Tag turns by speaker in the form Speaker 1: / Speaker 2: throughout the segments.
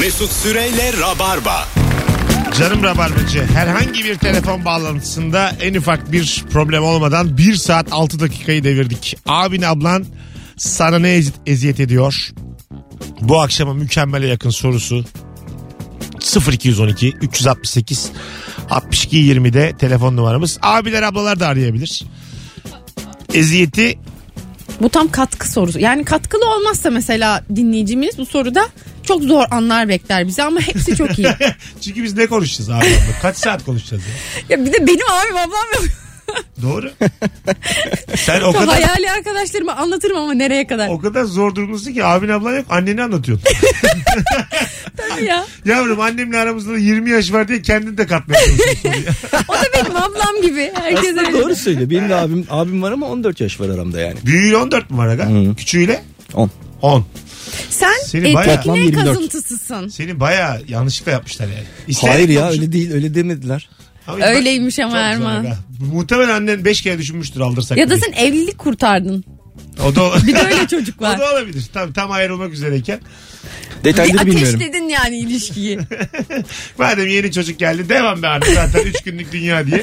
Speaker 1: Mesut Süreyle Rabarba.
Speaker 2: Canım Rabarbacı herhangi bir telefon bağlantısında en ufak bir problem olmadan 1 saat 6 dakikayı devirdik. Abin ablan sana ne ezi- eziyet ediyor? Bu akşama mükemmele yakın sorusu 0212 368 62 20'de telefon numaramız. Abiler ablalar da arayabilir. Eziyeti
Speaker 3: Bu tam katkı sorusu. Yani katkılı olmazsa mesela dinleyicimiz bu soruda çok zor anlar bekler bizi ama hepsi çok iyi.
Speaker 2: çünkü biz ne konuşacağız abi? abla? Kaç saat konuşacağız ya?
Speaker 3: ya bir de benim abim ablam yok.
Speaker 2: Doğru. Sen o kadar
Speaker 3: Hayali arkadaşlarıma anlatırım ama nereye kadar.
Speaker 2: O kadar zor durumdasın ki abin ablan yok anneni anlatıyorsun.
Speaker 3: Tabii ya.
Speaker 2: Yavrum annemle aramızda da 20 yaş var diye kendini de katmaya çalışıyorsun.
Speaker 3: O da benim ablam gibi. Herkese
Speaker 4: Aslında doğru söylüyor. Benim de abim, abim var ama 14 yaş var aramda yani.
Speaker 2: Büyüğüyle 14 mü var aga? Küçüğüyle
Speaker 4: 10.
Speaker 2: 10.
Speaker 3: Sen
Speaker 2: Seni
Speaker 3: e,
Speaker 2: bayağı-
Speaker 4: Toplam
Speaker 3: tekne
Speaker 4: 24.
Speaker 3: kazıntısısın.
Speaker 2: Seni baya yanlışlıkla yapmışlar yani. İsteyerek
Speaker 4: Hayır ya
Speaker 2: yapmış-
Speaker 4: öyle değil öyle demediler.
Speaker 2: Ama bak-
Speaker 3: Öyleymiş ama
Speaker 2: Çok güzel
Speaker 3: Erman.
Speaker 2: aga. Muhtemelen annen 5 kere düşünmüştür aldırsak.
Speaker 3: Ya da
Speaker 2: diye.
Speaker 3: sen evlilik kurtardın.
Speaker 2: O da, ol-
Speaker 3: Bir de öyle çocuk
Speaker 2: o
Speaker 3: var.
Speaker 2: da olabilir. Tam, tam ayrılmak üzereyken.
Speaker 3: Bir
Speaker 4: Detayları bilmiyorum.
Speaker 3: ateşledin yani ilişkiyi.
Speaker 2: Madem yeni çocuk geldi devam be artık zaten 3 günlük dünya diye.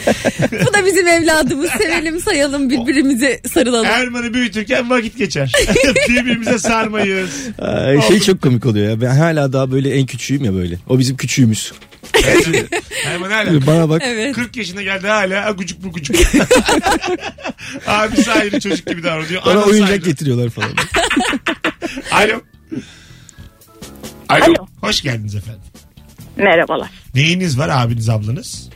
Speaker 3: Bu da bizim evladımız. Sevelim sayalım birbirimize sarılalım.
Speaker 2: Erman'ı büyütürken vakit geçer. Birbirimize sarmayız.
Speaker 4: Ay, şey çok komik oluyor ya. Ben hala daha böyle en küçüğüm ya böyle. O bizim küçüğümüz.
Speaker 2: Erman hala
Speaker 4: Bana bak.
Speaker 3: Evet.
Speaker 2: 40 yaşına geldi hala agucuk bugucuk. Abisi ayrı çocuk gibi davranıyor.
Speaker 4: Bana
Speaker 2: Anası
Speaker 4: oyuncak
Speaker 2: ayrı.
Speaker 4: getiriyorlar falan.
Speaker 2: Alo. Alo.
Speaker 5: Alo.
Speaker 2: Hoş geldiniz efendim.
Speaker 5: Merhabalar.
Speaker 2: Neyiniz var abiniz ablanız?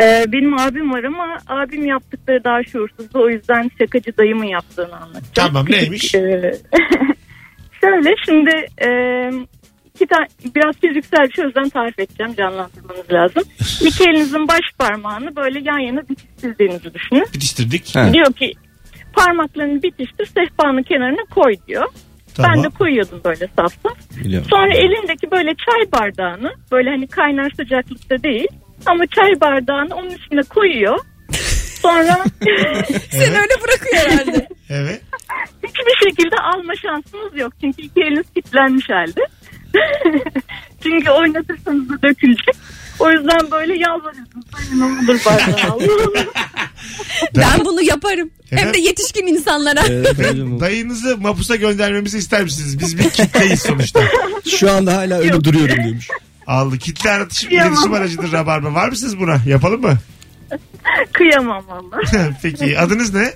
Speaker 5: Ee, benim abim var ama abim yaptıkları daha şuursuzdu. O yüzden şakacı dayımın yaptığını anlatacağım.
Speaker 2: Tamam,
Speaker 5: Küçük,
Speaker 2: neymiş?
Speaker 5: e, şöyle şimdi e, iki tane biraz fiziksel bir şey o yüzden tarif edeceğim canlandırmanız lazım. İki elinizin baş parmağını böyle yan yana dikiştirdiğinizi düşünün.
Speaker 2: Bitiştirdik.
Speaker 4: Ha.
Speaker 5: Diyor ki parmaklarını bitiştir sehpanın kenarına koy diyor.
Speaker 2: Tamam.
Speaker 5: Ben de koyuyordum böyle saf saf.
Speaker 4: Biliyorum.
Speaker 5: Sonra elindeki böyle çay bardağını böyle hani kaynar sıcaklıkta değil ama çay bardağını onun üstüne koyuyor. Sonra
Speaker 3: Seni öyle bırakıyor herhalde.
Speaker 2: Evet.
Speaker 5: hiçbir şekilde alma şansınız yok. Çünkü iki eliniz kilitlenmiş halde. Çünkü oynatırsanız da dökülecek. O yüzden böyle yalvarıyorsunuz. Hayır ne olur bardağı al.
Speaker 3: Ben bunu yaparım. Hem
Speaker 2: Evet. Ee,
Speaker 3: de yetişkin insanlara.
Speaker 4: Evet, öyle bu.
Speaker 2: Dayınızı mapusa göndermemizi ister misiniz? Biz bir kitleyiz sonuçta.
Speaker 4: Şu anda hala öyle duruyorum demiş.
Speaker 2: Aldı. Kitle aratışım
Speaker 5: Kıyamam.
Speaker 2: iletişim aracıdır rabarba. Var mısınız buna? Yapalım mı?
Speaker 5: Kıyamam valla.
Speaker 2: Peki adınız ne?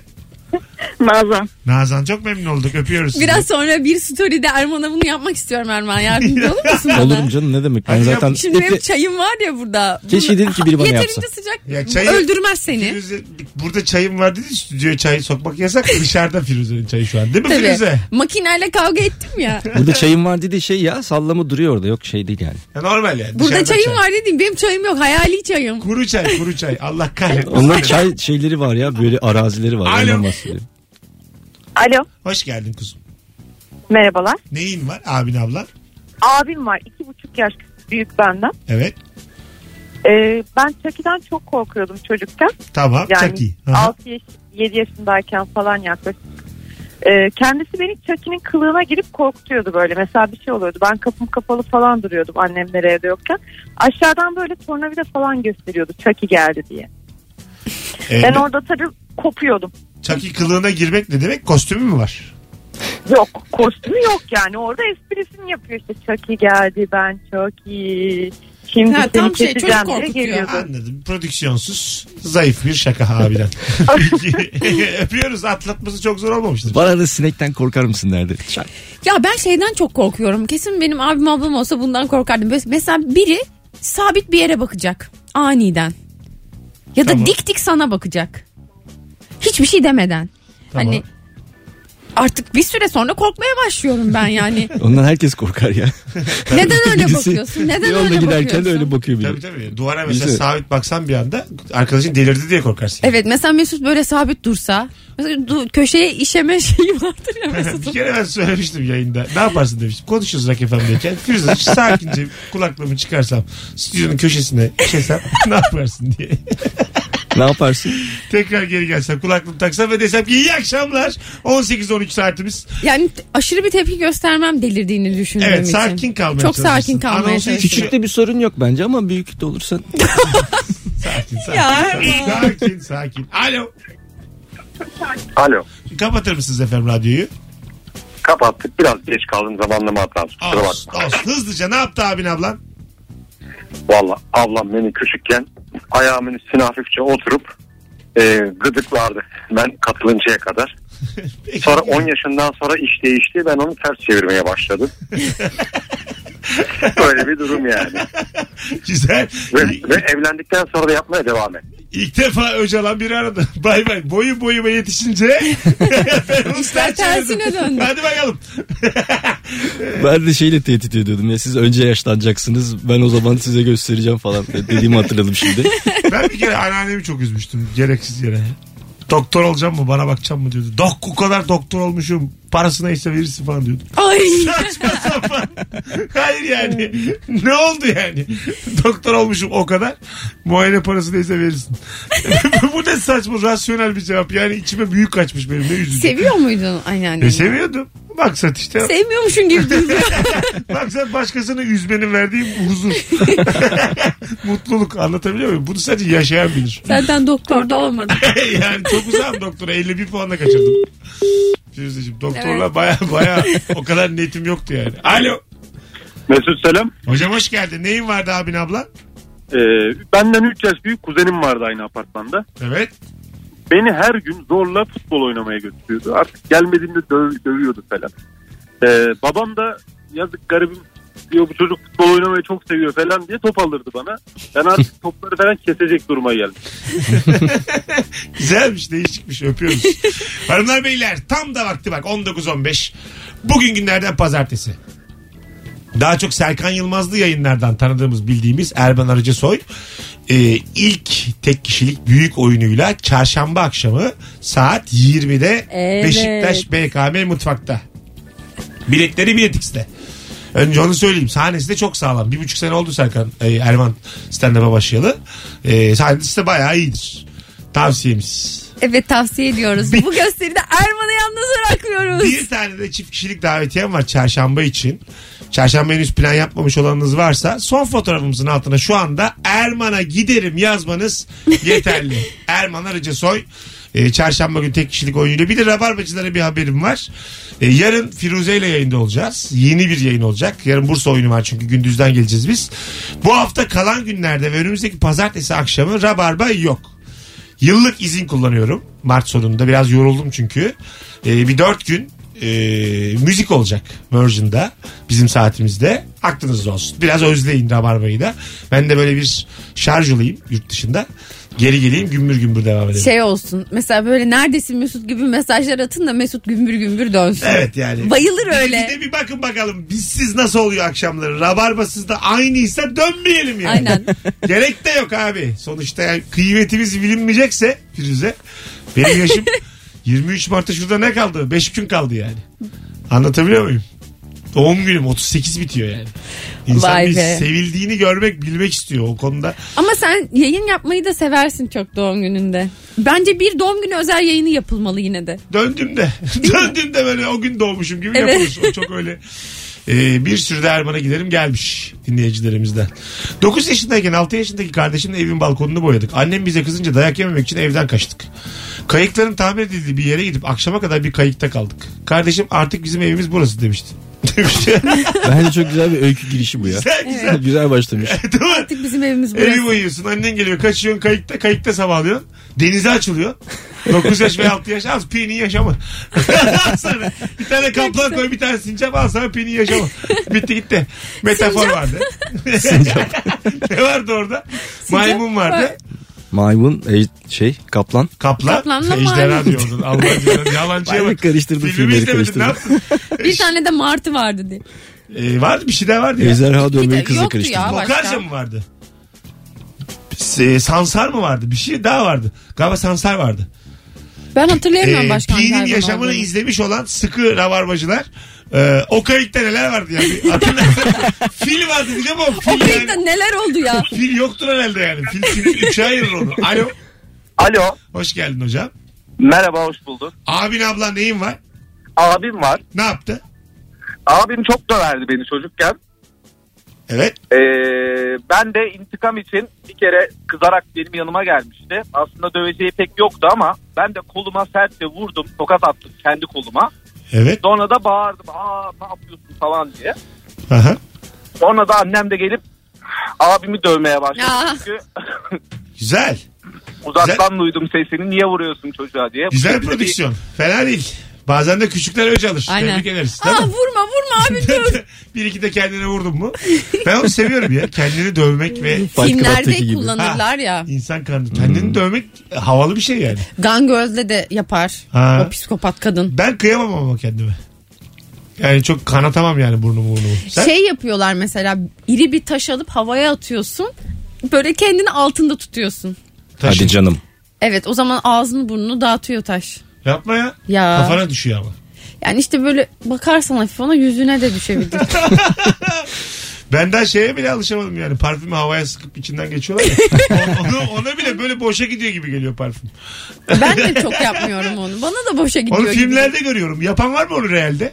Speaker 5: Nazan.
Speaker 2: Nazan çok memnun olduk. Öpüyoruz sizi.
Speaker 3: Biraz sonra bir story'de Erman'a bunu yapmak istiyorum Erman. Yardımcı olur musun bana?
Speaker 4: Olurum canım ne demek. Ben
Speaker 2: Hadi yap.
Speaker 4: zaten
Speaker 3: Şimdi benim
Speaker 4: Efe-
Speaker 3: çayım var ya burada.
Speaker 4: Keşke
Speaker 3: Bunu-
Speaker 4: dedi ki biri bana
Speaker 3: Yeterince
Speaker 4: yapsa.
Speaker 3: sıcak.
Speaker 2: Ya çayı-
Speaker 3: Öldürmez seni.
Speaker 2: Firuze, burada çayım var dedi stüdyoya çayı sokmak yasak dışarıda Firuze'nin çayı şu an değil mi
Speaker 3: Tabii.
Speaker 2: Firuze?
Speaker 3: Makineyle kavga ettim ya.
Speaker 4: Burada çayım var dediği şey ya sallama duruyor orada yok şey değil yani.
Speaker 2: Ya normal yani.
Speaker 3: Burada
Speaker 2: dışarıda
Speaker 3: çayım
Speaker 2: çay.
Speaker 3: var dediğim benim çayım yok. Hayali çayım.
Speaker 2: Kuru çay kuru çay Allah kahretmesin.
Speaker 4: Onların çay şeyleri var ya böyle arazileri var.
Speaker 2: Alo.
Speaker 4: Ondan bahsediyorum.
Speaker 5: Alo.
Speaker 2: Hoş geldin kuzum.
Speaker 5: Merhabalar.
Speaker 2: Neyin var abin ablan?
Speaker 5: Abim var. iki buçuk yaş büyük benden.
Speaker 2: Evet
Speaker 5: Ee, ben Chucky'den çok korkuyordum çocukken.
Speaker 2: tamam
Speaker 5: Yani
Speaker 2: çok iyi. Aha.
Speaker 5: 6 yaş, 7 yaşındayken falan yaklaşık. Ee, kendisi beni Chucky'nin kılığına girip korkutuyordu böyle. Mesela bir şey oluyordu. Ben kapım kapalı falan duruyordum annemler evde yokken. Aşağıdan böyle tornavida falan gösteriyordu Chucky geldi diye.
Speaker 2: Ee,
Speaker 5: Ben orada tabii kopuyordum.
Speaker 2: Chucky kılığına girmek ne demek? Kostümü mü var?
Speaker 5: Yok kostümü yok yani. Orada esprisini yapıyor işte Chucky geldi ben Chucky. Şimdi
Speaker 3: Ha, tam
Speaker 5: seni
Speaker 3: şey,
Speaker 5: keseceğim
Speaker 3: çocuk
Speaker 5: diye
Speaker 3: korkutuyor.
Speaker 5: geliyordu.
Speaker 2: Anladım. Prodüksiyonsuz zayıf bir şaka abiden. Peki, Öpüyoruz atlatması çok zor olmamıştır.
Speaker 4: Bana da sinekten korkar mısın derdi. Çay.
Speaker 3: Ya ben şeyden çok korkuyorum. Kesin benim abim ablam olsa bundan korkardım. Mes- Mesela biri sabit bir yere bakacak aniden. Ya da
Speaker 2: Tamam.
Speaker 3: dik dik sana bakacak. Hiçbir şey demeden.
Speaker 2: Tamam.
Speaker 3: Hani artık bir süre sonra korkmaya başlıyorum ben yani.
Speaker 4: Ondan herkes korkar ya.
Speaker 3: Neden öyle
Speaker 4: Birisi
Speaker 3: bakıyorsun? Neden
Speaker 4: yolda
Speaker 3: öyle
Speaker 4: giderken
Speaker 3: bakıyorsun?
Speaker 4: öyle bakıyor biri.
Speaker 2: Tabii tabii. Duvara mesela
Speaker 4: Bizi-
Speaker 2: sabit baksan bir anda arkadaşın delirdi diye korkarsın.
Speaker 3: Evet mesela Mesut böyle sabit dursa. Mesela du- köşeye işeme şeyi vardır ya
Speaker 2: bir
Speaker 3: Mesut'un.
Speaker 2: kere ben söylemiştim yayında. Ne yaparsın demiştim. Konuşuyoruz Rock FM'deyken. Firuze hiç sakince kulaklığımı çıkarsam stüdyonun köşesine işesem ne yaparsın diye.
Speaker 4: ne yaparsın?
Speaker 2: Tekrar geri gelsem kulaklığımı taksam ve desem ki iyi akşamlar. 18-13 saatimiz.
Speaker 3: Yani t- aşırı bir tepki göstermem delirdiğini düşündüğüm
Speaker 2: Evet,
Speaker 3: için.
Speaker 2: sakin kalmaya
Speaker 3: Çok
Speaker 2: çalışırsın.
Speaker 3: sakin kalmaya
Speaker 2: Anonsu hiç-
Speaker 3: çalışırsın.
Speaker 4: Küçükte bir sorun yok bence ama büyük de olursan.
Speaker 2: Sakin sakin.
Speaker 3: Ya.
Speaker 2: sakin, sakin sakin. Alo.
Speaker 6: Alo.
Speaker 2: Kapatır mısınız efendim radyoyu?
Speaker 6: Kapattık. Biraz geç kaldım zamanlama hatası. Kusura
Speaker 2: Olsun,
Speaker 6: bakma.
Speaker 2: olsun. Hızlıca ne yaptı abin ablan?
Speaker 6: Valla ablam beni küçükken ayağımın üstüne hafifçe oturup e, gıdıklardı. Ben katılıncaya kadar.
Speaker 2: Peki.
Speaker 6: Sonra 10 yaşından sonra iş değişti. Ben onu ters çevirmeye başladım. Böyle bir durum yani.
Speaker 2: Güzel.
Speaker 6: Ve,
Speaker 2: İ-
Speaker 6: ve evlendikten sonra da yapmaya devam et.
Speaker 2: İlk defa Öcalan biri aradı. Bay bay. Boyu boyuma yetişince. ben onu
Speaker 3: İşler
Speaker 2: ters çevirdim.
Speaker 3: tersine döndü.
Speaker 2: Hadi bakalım.
Speaker 4: Ben de şeyle tehdit ediyordum ya siz önce yaşlanacaksınız ben o zaman size göstereceğim falan dediğimi hatırladım şimdi.
Speaker 2: Ben bir kere anneannemi çok üzmüştüm. Gereksiz yere. Doktor olacağım mı bana bakacağım mı diyordu. Dok o kadar doktor olmuşum. Parası neyse verirsin falan diyordu.
Speaker 3: Ay.
Speaker 2: Saçma sapan. Hayır yani. ne oldu yani? Doktor olmuşum o kadar. Muayene parası neyse verirsin. Bu ne saçma rasyonel bir cevap. Yani içime büyük kaçmış benim. Ne üzücü.
Speaker 3: Seviyor muydun
Speaker 2: E,
Speaker 3: anneanneni?
Speaker 2: seviyordum. Maksat işte.
Speaker 3: Sevmiyormuşsun gibi duruyor.
Speaker 2: Maksat başkasını üzmenin verdiği huzur. Mutluluk anlatabiliyor muyum? Bunu sadece yaşayan bilir.
Speaker 3: Zaten doktor da olmadı.
Speaker 2: yani çok uzağım doktora. 51 puanla kaçırdım. Firuze'cim doktorla baya baya o kadar netim yoktu yani. Alo.
Speaker 6: Mesut selam.
Speaker 2: Hocam hoş geldin. Neyin vardı abin abla?
Speaker 6: Ee, benden 3 yaş büyük kuzenim vardı aynı apartmanda.
Speaker 2: Evet.
Speaker 6: Beni her gün zorla futbol oynamaya götürüyordu. Artık gelmediğinde döv- dövüyordu falan. Ee, babam da yazık garibim diyor bu çocuk futbol oynamayı çok seviyor falan diye top alırdı bana. Ben artık topları falan kesecek duruma geldim.
Speaker 2: Güzelmiş değişikmiş öpüyoruz. Hanımlar beyler tam da vakti bak 19.15. Bugün günlerden pazartesi. Daha çok Serkan Yılmazlı yayınlardan tanıdığımız bildiğimiz Erben Arıcısoy e, ilk tek kişilik büyük oyunuyla çarşamba akşamı saat 20'de
Speaker 3: Evet.
Speaker 2: Beşiktaş BKM mutfakta. Biletleri biletikste. Önce onu söyleyeyim. Sahnesi de çok sağlam. Bir buçuk sene oldu Serkan e, Erman stand-up'a başlayalı. E, sahnesi de bayağı iyidir. Tavsiyemiz.
Speaker 3: Evet tavsiye ediyoruz. Bu gösteride Erman'ı yalnız bırakmıyoruz.
Speaker 2: Bir tane de çift kişilik davetiyem var çarşamba için. Çarşamba henüz plan yapmamış olanınız varsa son fotoğrafımızın altına şu anda Erman'a giderim yazmanız yeterli. Erman Arıcısoy e, çarşamba günü tek kişilik oyunuyla. Bir de Rabarbacılara bir haberim var. E, yarın Firuze ile yayında olacağız. Yeni bir yayın olacak. Yarın Bursa oyunu var çünkü gündüzden geleceğiz biz. Bu hafta kalan günlerde ve önümüzdeki pazartesi akşamı Rabarba yok. Yıllık izin kullanıyorum Mart sonunda. Biraz yoruldum çünkü. Ee, bir dört gün e, müzik olacak Virgin'da bizim saatimizde. Aklınızda olsun. Biraz özleyin Rabarba'yı da. Ben de böyle bir şarj olayım yurt dışında. Geri geleyim gümbür gümbür devam edelim.
Speaker 3: Şey olsun mesela böyle neredesin Mesut gibi mesajlar atın da Mesut gümbür gümbür dönsün.
Speaker 2: Evet yani.
Speaker 3: Bayılır
Speaker 2: Bir
Speaker 3: öyle.
Speaker 2: de bir bakın bakalım bizsiz nasıl oluyor akşamları. Rabarbasız da aynıysa dönmeyelim yani.
Speaker 3: Aynen.
Speaker 2: Gerek de yok abi. Sonuçta yani kıymetimiz bilinmeyecekse Firuze. Benim yaşım 23 Mart'ta şurada ne kaldı? 5 gün kaldı yani. Anlatabiliyor muyum? Doğum günüm 38 bitiyor yani. İnsan
Speaker 3: Vay
Speaker 2: bir
Speaker 3: be.
Speaker 2: sevildiğini görmek, bilmek istiyor o konuda.
Speaker 3: Ama sen yayın yapmayı da seversin çok doğum gününde. Bence bir doğum günü özel yayını yapılmalı yine de.
Speaker 2: Döndüm de. döndüm de böyle o gün doğmuşum gibi
Speaker 3: Evet.
Speaker 2: yapılır. O çok öyle. Ee, bir sürü de Erman'a giderim gelmiş dinleyicilerimizden. 9 yaşındayken 6 yaşındaki kardeşimle evin balkonunu boyadık. Annem bize kızınca dayak yememek için evden kaçtık. Kayıkların tamir edildiği bir yere gidip akşama kadar bir kayıkta kaldık. Kardeşim artık bizim evimiz burası demişti. Demiş.
Speaker 4: Bence çok güzel bir öykü girişi bu ya.
Speaker 2: güzel güzel.
Speaker 4: güzel başlamış.
Speaker 2: Değil mi?
Speaker 3: Artık bizim evimiz burası.
Speaker 2: Evi boyuyorsun annen geliyor kaçıyorsun kayıkta kayıkta sabahlıyorsun. Denize açılıyor. 9 yaş ve 6 yaş az pini yaşama. Al sana. Bir tane kaplan koy bir tane sincap al sana pini yaşama. Bitti gitti. Metafor
Speaker 3: Sincap.
Speaker 2: vardı. ne vardı orada? Maymun vardı.
Speaker 3: var.
Speaker 4: Maymun, e, şey, kaplan.
Speaker 2: Kaplan.
Speaker 3: Kaplanla
Speaker 2: Ejderha
Speaker 3: maymun.
Speaker 2: diyordun. Allah'ın yalancıya
Speaker 4: Maymun
Speaker 2: bak.
Speaker 4: karıştırdım
Speaker 2: Filmi
Speaker 4: filmleri
Speaker 2: izlemedin ne
Speaker 4: karıştırdım.
Speaker 2: yaptın?
Speaker 3: Bir tane de martı vardı diye.
Speaker 2: Ee, vardı bir şey daha vardı ya.
Speaker 4: Ejderha
Speaker 3: Bir
Speaker 4: dövmeyi
Speaker 3: de-
Speaker 4: kızla
Speaker 3: yoktu
Speaker 4: karıştırdım.
Speaker 3: ya. başka.
Speaker 2: Mokarca mı vardı? Se- Sansar mı vardı? Bir şey daha vardı. Galiba sansar vardı.
Speaker 3: Ben hatırlayamıyorum
Speaker 2: Ee,
Speaker 3: başkan
Speaker 2: Pi'nin
Speaker 3: galiba
Speaker 2: yaşamını
Speaker 3: olduğunu.
Speaker 2: izlemiş olan sıkı rabarbacılar e, o kayıkta neler vardı yani. Hatırlarsın. fil vardı diyeceğim ama
Speaker 3: O
Speaker 2: fil,
Speaker 3: kayıtta
Speaker 2: yani,
Speaker 3: neler oldu ya?
Speaker 2: fil yoktur herhalde yani. Fil, fil üçe ayırır onu. Alo.
Speaker 7: Alo.
Speaker 2: Hoş geldin hocam.
Speaker 7: Merhaba hoş bulduk.
Speaker 2: Abin ablan neyin var?
Speaker 7: Abim var.
Speaker 2: Ne yaptı?
Speaker 7: Abim çok döverdi beni çocukken.
Speaker 2: Evet.
Speaker 7: Ee, ben de intikam için bir kere kızarak benim yanıma gelmişti. Aslında döveceği pek yoktu ama ben de koluma sertçe vurdum. Tokat attım kendi koluma.
Speaker 2: Evet.
Speaker 7: Sonra da bağırdım. Aa ne yapıyorsun falan diye.
Speaker 2: Aha.
Speaker 7: Sonra da annem de gelip abimi dövmeye başladı.
Speaker 3: Aa.
Speaker 7: Çünkü
Speaker 2: Güzel.
Speaker 7: uzaktan duydum sesini. Niye vuruyorsun çocuğa diye.
Speaker 2: Güzel şey.
Speaker 7: Bir-
Speaker 2: prodüksiyon. Fena değil. Bazen de küçükler öç alır.
Speaker 3: Aynen.
Speaker 2: Tebrik ederiz. Değil
Speaker 3: Aa,
Speaker 2: mi?
Speaker 3: vurma vurma abi dur.
Speaker 2: bir iki de kendine vurdun mu? Ben onu seviyorum ya. Kendini dövmek ve
Speaker 4: Fight
Speaker 3: Filmlerde
Speaker 4: Club'taki gibi.
Speaker 3: kullanırlar ya.
Speaker 2: insan kanı. Kendini dövmek havalı bir şey yani.
Speaker 3: Gangöz'le de yapar.
Speaker 2: Ha.
Speaker 3: O psikopat kadın.
Speaker 2: Ben kıyamam ama kendime. Yani çok kanatamam yani burnumu burnumu. Sen
Speaker 3: Şey yapıyorlar mesela iri bir taş alıp havaya atıyorsun. Böyle kendini altında tutuyorsun.
Speaker 2: taşı-
Speaker 4: Hadi canım.
Speaker 3: Evet o zaman ağzını burnunu dağıtıyor taş.
Speaker 2: Yapma ya.
Speaker 3: Ya.
Speaker 2: Kafana düşüyor ama.
Speaker 3: Yani işte böyle bakarsan hafif ona yüzüne de düşebilir.
Speaker 2: Ben daha şeye bile alışamadım yani. Parfümü havaya sıkıp içinden geçiyorlar ya. ona, ona bile böyle boşa gidiyor gibi geliyor parfüm.
Speaker 3: ben de çok yapmıyorum onu. Bana da boşa gidiyor.
Speaker 2: Onu
Speaker 3: gibi.
Speaker 2: filmlerde görüyorum. Yapan var mı onu realde?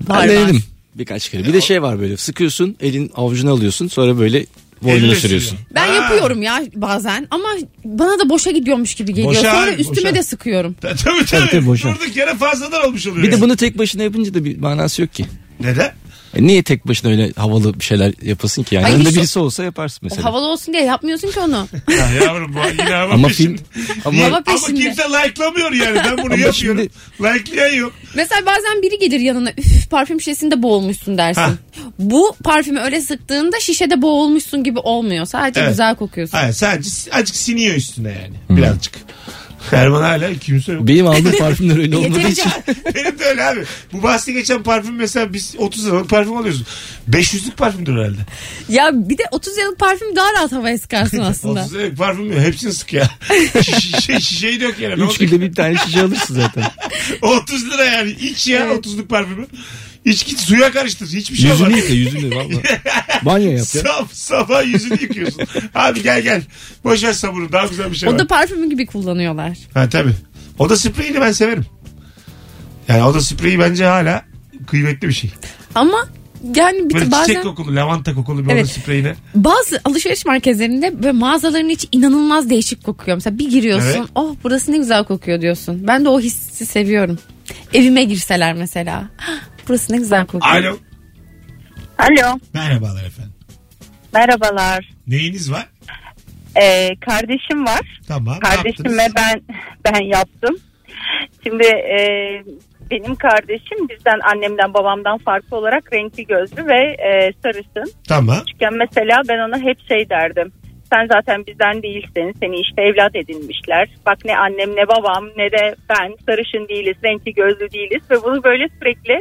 Speaker 3: Var,
Speaker 4: Ben
Speaker 3: var.
Speaker 4: denedim Birkaç kere. Bir de şey var böyle sıkıyorsun elin avucuna alıyorsun sonra böyle
Speaker 2: Eline
Speaker 4: boynuna sürüyorsun.
Speaker 2: sürüyor.
Speaker 3: Ben
Speaker 2: Ha.
Speaker 3: yapıyorum ya bazen ama bana da boşa gidiyormuş gibi geliyor.
Speaker 2: Boşa
Speaker 3: Sonra
Speaker 2: abi,
Speaker 3: üstüme
Speaker 2: boşa.
Speaker 3: de sıkıyorum.
Speaker 2: Ta- Tabii tabii.
Speaker 4: Tabii, tabii, boşa.
Speaker 2: Durduk yere fazladan olmuş oluyor.
Speaker 4: Bir de
Speaker 2: yani.
Speaker 4: bunu tek başına yapınca da bir manası yok ki.
Speaker 2: Neden?
Speaker 4: E niye tek başına öyle havalı bir şeyler yapasın ki? Yani
Speaker 3: Hayır,
Speaker 4: yanında
Speaker 3: hiç-
Speaker 4: birisi olsa yaparsın
Speaker 3: O
Speaker 4: mesela.
Speaker 3: havalı olsun diye yapmıyorsun ki onu.
Speaker 2: Ya yavrum bu yine hava
Speaker 4: Ama
Speaker 2: peşinde.
Speaker 4: film ama
Speaker 3: Hava
Speaker 2: Ama
Speaker 3: peşinde.
Speaker 2: kimse like'lamıyor yani. Ben bunu
Speaker 4: Ama
Speaker 2: yapıyorum. Like'layan yok.
Speaker 3: Mesela bazen biri gelir yanına üf parfüm şişesinde boğulmuşsun dersin.
Speaker 2: Ha.
Speaker 3: Bu parfümü öyle sıktığında şişede boğulmuşsun gibi olmuyor. Sadece
Speaker 2: Evet.
Speaker 3: güzel kokuyorsun.
Speaker 2: Hayır sadece azıcık siniyor üstüne yani.
Speaker 3: Hmm.
Speaker 2: Birazcık. Erman hala kimse yok.
Speaker 4: benim aldığım parfümler öyle olmadığı
Speaker 3: Yeterince
Speaker 4: için.
Speaker 2: Benim de öyle abi. Bu bahsi geçen parfüm mesela biz 30 liralık parfüm alıyoruz. 500'lük parfümdür herhalde.
Speaker 3: ya bir de 30 yıllık parfüm daha rahat havaya sıkarsın aslında.
Speaker 2: 30 liralık parfüm yok. Hepsini sık ya. Şişe, şişeyi dök yere. Ne
Speaker 4: Üç
Speaker 2: olacak?
Speaker 4: günde bir tane şişe alırsın zaten.
Speaker 2: 30 lira yani. İç ya
Speaker 3: Evet.
Speaker 2: 30'luk parfümü. İç git suya karıştır. Hiçbir şey
Speaker 4: Yüzünü
Speaker 2: olmaz.
Speaker 4: yıka yüzünü valla. Banyo yap ya.
Speaker 2: Saf, sabah yüzünü yıkıyorsun. Abi gel gel. Boş ver sabunu. Daha güzel bir şey
Speaker 3: O
Speaker 2: var.
Speaker 3: da parfümü gibi kullanıyorlar.
Speaker 2: Ha tabii. Oda spreyini ben severim. Yani oda spreyi bence hala kıymetli bir şey.
Speaker 3: Ama yani bir
Speaker 2: Böyle
Speaker 3: bazen
Speaker 2: çiçek kokulu, lavanta kokulu bir oda
Speaker 3: Evet.
Speaker 2: spreyine.
Speaker 3: bazı alışveriş merkezlerinde böyle mağazaların içi inanılmaz değişik kokuyor. Mesela bir giriyorsun
Speaker 2: Evet.
Speaker 3: oh burası ne güzel kokuyor diyorsun. Ben de o hissi seviyorum. Evime girseler mesela. "Hah, Burası ne güzel kokuyor.
Speaker 2: Alo.
Speaker 8: Alo
Speaker 2: Merhabalar efendim.
Speaker 8: merhabalar.
Speaker 2: Neyiniz var?
Speaker 8: Ee, kardeşim var.
Speaker 2: Tamam. ne yaptınız?
Speaker 8: Kardeşim ve ben ben yaptım. Şimdi e, benim kardeşim bizden annemden babamdan farklı olarak renkli gözlü ve e, sarısın.
Speaker 2: Tamam.
Speaker 8: Küçükken mesela ben ona hep şey derdim. Sen zaten bizden değilsin. Seni işte evlat edinmişler. Bak ne annem ne babam ne de ben sarışın değiliz, renkli gözlü değiliz. Ve bunu böyle sürekli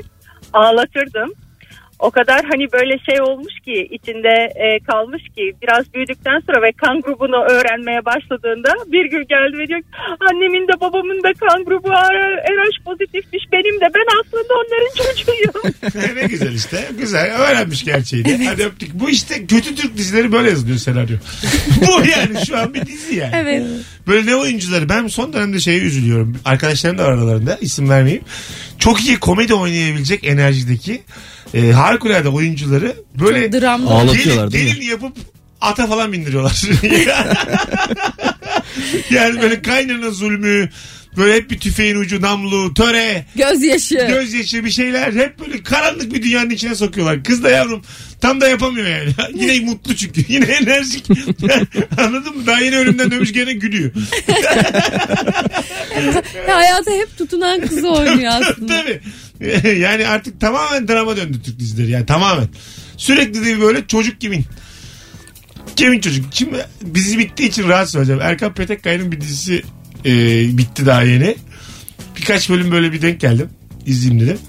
Speaker 8: ağlatırdım. O kadar hani böyle şey olmuş ki içinde e, kalmış ki biraz büyüdükten sonra ve kan grubunu öğrenmeye başladığında bir gün geldi ve diyor ki, annemin de babamın da kan grubu RH pozitifmiş benim de ben aslında onların çocuğuyum.
Speaker 2: ne güzel işte. Güzel. Öğrenmiş gerçeğini. Hadi öptük. Bu işte kötü Türk dizileri böyle yazılıyor senaryo. Bu yani şu an bir dizi yani.
Speaker 3: Evet.
Speaker 2: Böyle ne oyuncuları ben son dönemde şeye üzülüyorum. Arkadaşlarım da var aralarında isim vermeyeyim. Çok iyi komedi oynayabilecek enerjideki e, harikulade oyuncuları böyle
Speaker 3: Dramda.
Speaker 4: Ağla- Ağlatıyorlar, değil mi?
Speaker 2: gelin yapıp ata falan bindiriyorlar. yani böyle kaynana zulmü böyle hep bir tüfeğin ucu namlu töre
Speaker 3: Gözyaşı.
Speaker 2: gözyaşı bir şeyler hep böyle karanlık bir dünyanın içine sokuyorlar. Kız da yavrum tam da yapamıyor yani. yine mutlu çünkü. Yine enerjik. Anladın mı? Daha yeni ölümden dönmüş gene gülüyor.
Speaker 3: Ya hayata hep tutunan kızı oynuyor aslında.
Speaker 2: Tabii. yani artık tamamen drama döndü Türk dizileri. Yani tamamen. Sürekli de böyle çocuk kimin? Kimin çocuk? Kim? Dizi bittiği için rahat söyleyeceğim. Erkan Petekkaya'nın bir dizisi e, bitti daha yeni. Birkaç bölüm böyle bir denk geldim. İzleyeyim dedim.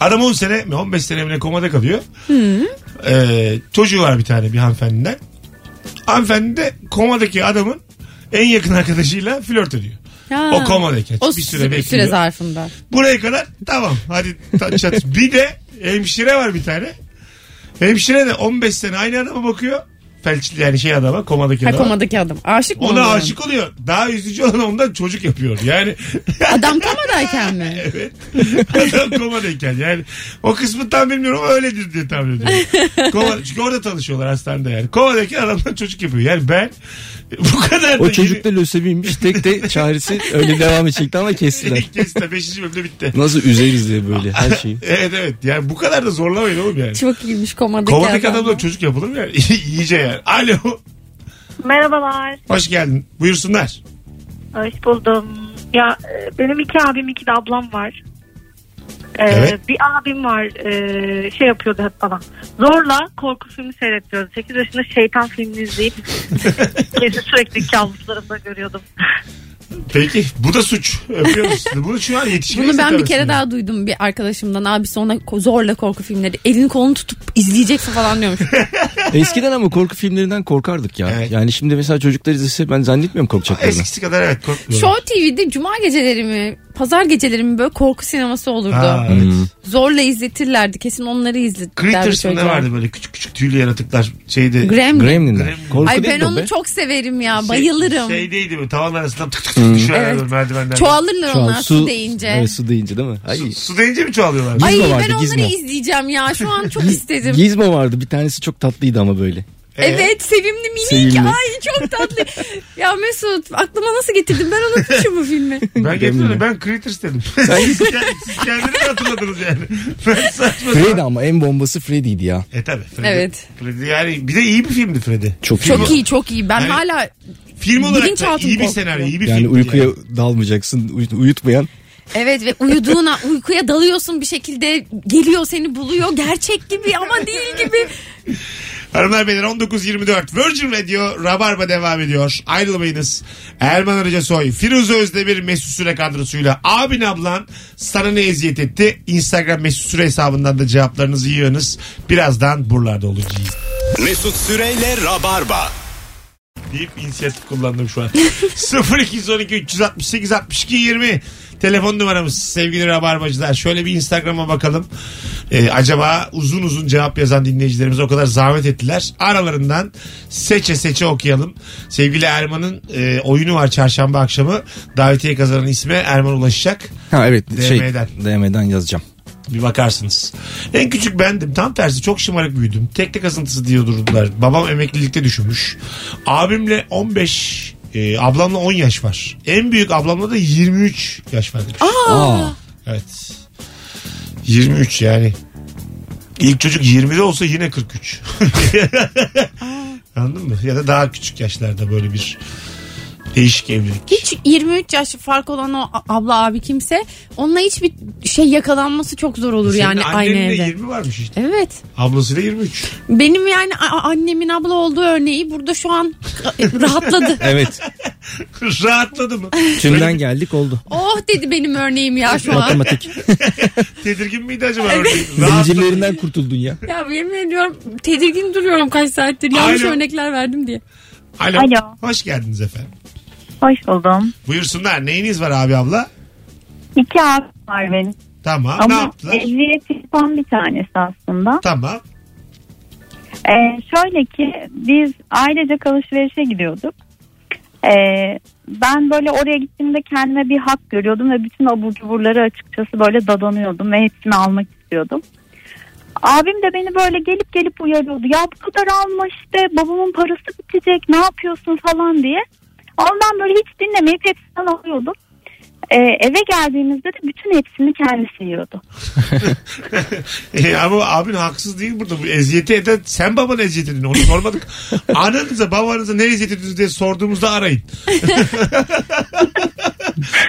Speaker 2: Adam 10 sene mi 15 sene mi ne komada kalıyor. Ee, çocuğu var bir tane bir hanımefendiden. Hanımefendi de komadaki adamın en yakın arkadaşıyla flört ediyor.
Speaker 3: Ya.
Speaker 2: O komadaki.
Speaker 3: O
Speaker 2: bir süre
Speaker 3: bir
Speaker 2: bekliyor.
Speaker 3: süre zarfında.
Speaker 2: Buraya kadar tamam. Hadi ta- çat. bir de hemşire var bir tane. Hemşire de 15 sene aynı adama bakıyor. felçli yani şey adama komadaki
Speaker 3: Ha,
Speaker 2: adama.
Speaker 3: komadaki adam. Aşık mı?
Speaker 2: Ona
Speaker 3: oluyor?
Speaker 2: aşık oluyor. Daha üzücü olan ondan çocuk yapıyor. Yani
Speaker 3: Adam komadayken mi?
Speaker 2: adam komadayken yani o kısmı tam bilmiyorum ama öyledir diye tahmin ediyorum. Koma, çünkü orada tanışıyorlar hastanede yani. Komadaki adamdan çocuk yapıyor. Yani ben bu kadar
Speaker 4: O
Speaker 2: da
Speaker 4: çocuk da lösemiymiş. Tek de çaresi öyle devam edecekti ama kestiler.
Speaker 2: Kesta 5. bölümde bitti.
Speaker 4: Nasıl üzeriz diye böyle her şeyi.
Speaker 2: Evet evet yani bu kadar da zorlamayın oğlum yani.
Speaker 3: Çok iyiymiş komadaki,
Speaker 2: Komadaki
Speaker 3: adam.
Speaker 2: adamdan çocuk yapılır mı yani? İyice yani. Alo.
Speaker 9: Merhabalar.
Speaker 2: Hoş geldin. Buyursunlar.
Speaker 9: Hoş buldum. Ya e, benim iki abim iki de ablam var. Ee,
Speaker 2: Evet.
Speaker 9: Bir abim var e, şey yapıyordu hep bana. Zorla korku filmi seyretiyordu. 8 yaşında şeytan filmini izleyip gece sürekli kabuslarımda görüyordum.
Speaker 2: Peki bu da suç. Öpüyoruz. Bunu şu an yetişkin
Speaker 3: Bunu ben bir
Speaker 2: izletemezsin
Speaker 3: kere
Speaker 2: yani.
Speaker 3: daha duydum bir arkadaşımdan. Abisi ona ko- zorla korku filmleri elini kolunu tutup izleyeceksin falan diyormuş.
Speaker 4: Eskiden ama korku filmlerinden korkardık ya.
Speaker 2: Evet.
Speaker 4: Yani şimdi mesela çocuklar izlese ben zannetmiyorum korkacaklarını.
Speaker 2: Eskisi kadar evet korkmuyorum.
Speaker 3: Show TV'de cuma geceleri mi, pazar geceleri mi böyle korku sineması olurdu.
Speaker 2: Ha, evet.
Speaker 4: Hmm.
Speaker 3: Zorla izletirlerdi. Kesin onları izletirlerdi
Speaker 2: Critters mı ne
Speaker 3: çocuğa.
Speaker 2: vardı böyle küçük küçük tüylü yaratıklar şeyde.
Speaker 3: Gremlin.
Speaker 4: Gremlinler. Korku
Speaker 3: Ay
Speaker 4: değil
Speaker 3: ben
Speaker 4: de o
Speaker 3: onu
Speaker 4: be.
Speaker 3: çok severim ya.
Speaker 2: Şey-
Speaker 3: Bayılırım.
Speaker 2: Şeydeydi mi tavan arasından tık tık tık düşüyorlar
Speaker 3: Evet.
Speaker 2: böyle merdivenlerden.
Speaker 3: Çoğalırlar
Speaker 4: Şu an
Speaker 3: onlar su, deyince.
Speaker 4: Evet su deyince değil mi? Ay.
Speaker 2: Su, su deyince mi çoğalıyorlar?
Speaker 3: Ay
Speaker 4: Gizmo
Speaker 3: ben
Speaker 4: vardı,
Speaker 3: onları
Speaker 4: Gizmo.
Speaker 3: izleyeceğim ya. Şu an çok istedim.
Speaker 4: Gizmo vardı bir tanesi çok tatlıydı ama böyle.
Speaker 2: Ee,
Speaker 3: Evet sevimli minik
Speaker 4: Sevimli.
Speaker 3: ay çok tatlı. ya Mesut aklıma nasıl getirdin ben unutmuşum bu filmi.
Speaker 2: Ben getirdim ben Critters dedim. Siz kend- siz kendiniz hatırladınız yani. Ben saçma sapan.
Speaker 4: Freddy ama en bombası Freddy'ydi ya.
Speaker 2: E tabi Freddy.
Speaker 3: Evet.
Speaker 2: Freddy yani bir de iyi bir filmdi Freddy.
Speaker 4: Çok iyi.
Speaker 3: Çok iyi çok iyi ben
Speaker 2: Yani-
Speaker 3: hala
Speaker 2: Film olarak da
Speaker 3: Bilinçaltım
Speaker 2: iyi bir
Speaker 3: korkuyor.
Speaker 2: senaryo iyi bir
Speaker 4: Yani
Speaker 2: filmdi.
Speaker 4: uykuya dalmayacaksın uy- uyutmayan.
Speaker 3: evet ve uyuduğuna uykuya dalıyorsun bir şekilde geliyor seni buluyor gerçek gibi ama değil gibi.
Speaker 2: Hanımlar beyler 19.24 Virgin Radio Rabarba devam ediyor. Ayrılmayınız. Erman Arıca Soy, Firuze Özdemir Mesut Süre kadrosuyla abin ablan sana ne eziyet etti? Instagram Mesut Süre hesabından da cevaplarınızı yığınız. Birazdan buralarda olacağız.
Speaker 1: Mesut Süreyle Rabarba.
Speaker 2: deyip inisiyatif kullandım şu an. 0212 368 62 20 telefon numaramız sevgili rabarbacılar. Şöyle bir Instagram'a bakalım. Ee, acaba uzun uzun cevap yazan dinleyicilerimiz o kadar zahmet ettiler. Aralarından seçe seçe okuyalım. Sevgili Erman'ın e, oyunu var çarşamba akşamı. Davetiye kazanan isme Erman ulaşacak.
Speaker 4: Ha evet şey
Speaker 2: DM'den.
Speaker 4: DM'den yazacağım.
Speaker 2: Bir bakarsınız. En küçük bendim. Tam tersi çok şımarık büyüdüm. Tek tek asıntısı diye durdular. Babam emeklilikte düşünmüş. Abimle 15 e, ablamla 10 yaş var. En büyük ablamla da 23 yaş var demiş.
Speaker 4: Aa.
Speaker 2: Evet. 23 yani. İlk çocuk 20'de olsa yine 43. Anladın mı? Ya da daha küçük yaşlarda böyle bir değişik evlilik.
Speaker 3: Hiç 23 yaş fark olan o a- abla abi kimse onunla hiçbir şey yakalanması çok zor olur
Speaker 2: Senin
Speaker 3: yani aynı
Speaker 2: annenin de
Speaker 3: evde.
Speaker 2: 20 varmış işte.
Speaker 3: Evet.
Speaker 2: Ablasıyla 23.
Speaker 3: Benim yani a- a- annemin abla olduğu örneği burada şu an rahatladı.
Speaker 4: Evet
Speaker 2: Rahatladı mı?
Speaker 4: tümden geldik oldu.
Speaker 3: Oh dedi benim örneğim ya şu an.
Speaker 4: Matematik.
Speaker 2: Tedirgin miydi acaba? örneğin? Rahatladı.
Speaker 4: Zincirlerinden kurtuldun ya.
Speaker 3: Ya yemin ediyorum tedirgin duruyorum kaç saattir. Yanlış
Speaker 2: Alo.
Speaker 3: örnekler verdim diye.
Speaker 2: Alo.
Speaker 8: Alo.
Speaker 2: Hoş geldiniz efendim.
Speaker 8: Hoş buldum.
Speaker 2: Buyursunlar. Neyiniz var abi abla?
Speaker 8: İki abim var benim.
Speaker 2: Tamam. ne
Speaker 8: Ama
Speaker 2: yaptılar?
Speaker 3: e-
Speaker 8: ehliyeti yapan bir tanesi aslında.
Speaker 2: Tamam.
Speaker 8: Ee, şöyle ki biz ailecek alışverişe gidiyorduk. Ee, ben böyle oraya gittiğimde kendime bir hak görüyordum ve bütün abur cuburları açıkçası böyle dadanıyordum ve hepsini almak istiyordum. Abim de beni böyle gelip gelip uyarıyordu. Ya bu kadar alma işte babamın parası bitecek ne yapıyorsun falan diye. Ondan böyle hiç dinlemeyip hepsinden alıyordum. Ee, eve geldiğimizde de bütün hepsini kendisi yiyordu.
Speaker 2: E, ama abin haksız değil burada. Bu eziyeti eden sen babanın eziyet edin. Onu sormadık. Ananıza babanıza ne eziyet ediyorsunuz diye sorduğumuzda arayın.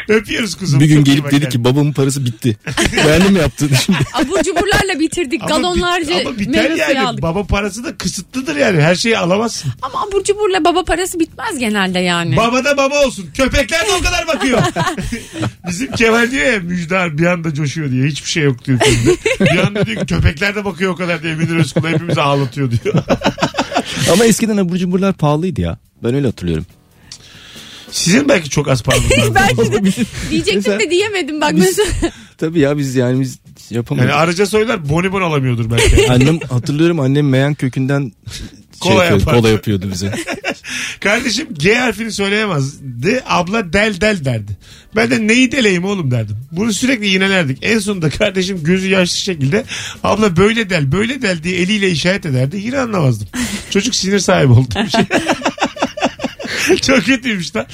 Speaker 2: Öpüyoruz kuzum.
Speaker 4: Bir gün
Speaker 2: Çok iyi
Speaker 4: gelip
Speaker 2: bak
Speaker 4: dedi
Speaker 2: yani.
Speaker 4: ki babamın parası bitti. Beğendin mi yaptın şimdi?
Speaker 3: Abur cuburlarla bitirdik.
Speaker 2: Ama bit-
Speaker 3: galonlarca
Speaker 2: ama biter
Speaker 3: şey- meyve suyu
Speaker 2: yani.
Speaker 3: aldık.
Speaker 2: Baba parası da kısıtlıdır yani. Her şeyi alamazsın.
Speaker 3: Ama abur cuburla baba parası bitmez genelde yani.
Speaker 2: Baba da baba olsun. Köpekler de o kadar bakıyor. Bizim Kemal diyor ya Müjdar bir anda coşuyor diye. Hiçbir şey yok diyor filmde. Bir anda diyor ki, köpekler de bakıyor o kadar diye. Münir Özkul hepimizi ağlatıyor diyor.
Speaker 4: Ama eskiden abur cuburlar pahalıydı ya. Ben öyle hatırlıyorum.
Speaker 2: Sizin belki çok az paranız var.
Speaker 3: Belki de diyecektim
Speaker 4: Mesela-
Speaker 3: de diyemedim bak.
Speaker 4: Biz-
Speaker 3: Mesut.
Speaker 4: Tabii ya biz yani biz
Speaker 2: Yani
Speaker 4: yapamadık.
Speaker 2: araca soylar bonibon alamıyordur belki.
Speaker 4: annem hatırlıyorum annem meyan kökünden şey
Speaker 2: Kola
Speaker 4: yapıyor-
Speaker 2: yapardı.
Speaker 4: kola yapıyordu bize.
Speaker 2: Kardeşim G harfini söyleyemezdi. Abla del del derdi. Ben de neyi deleyim oğlum derdim. Bunu sürekli yinelerdik. En sonunda kardeşim gözü yaşlı şekilde abla böyle del böyle del diye eliyle işaret ederdi. Yine anlamazdım. Çocuk sinir sahibi oldu. Bir şey. Çok kötüymüş lan.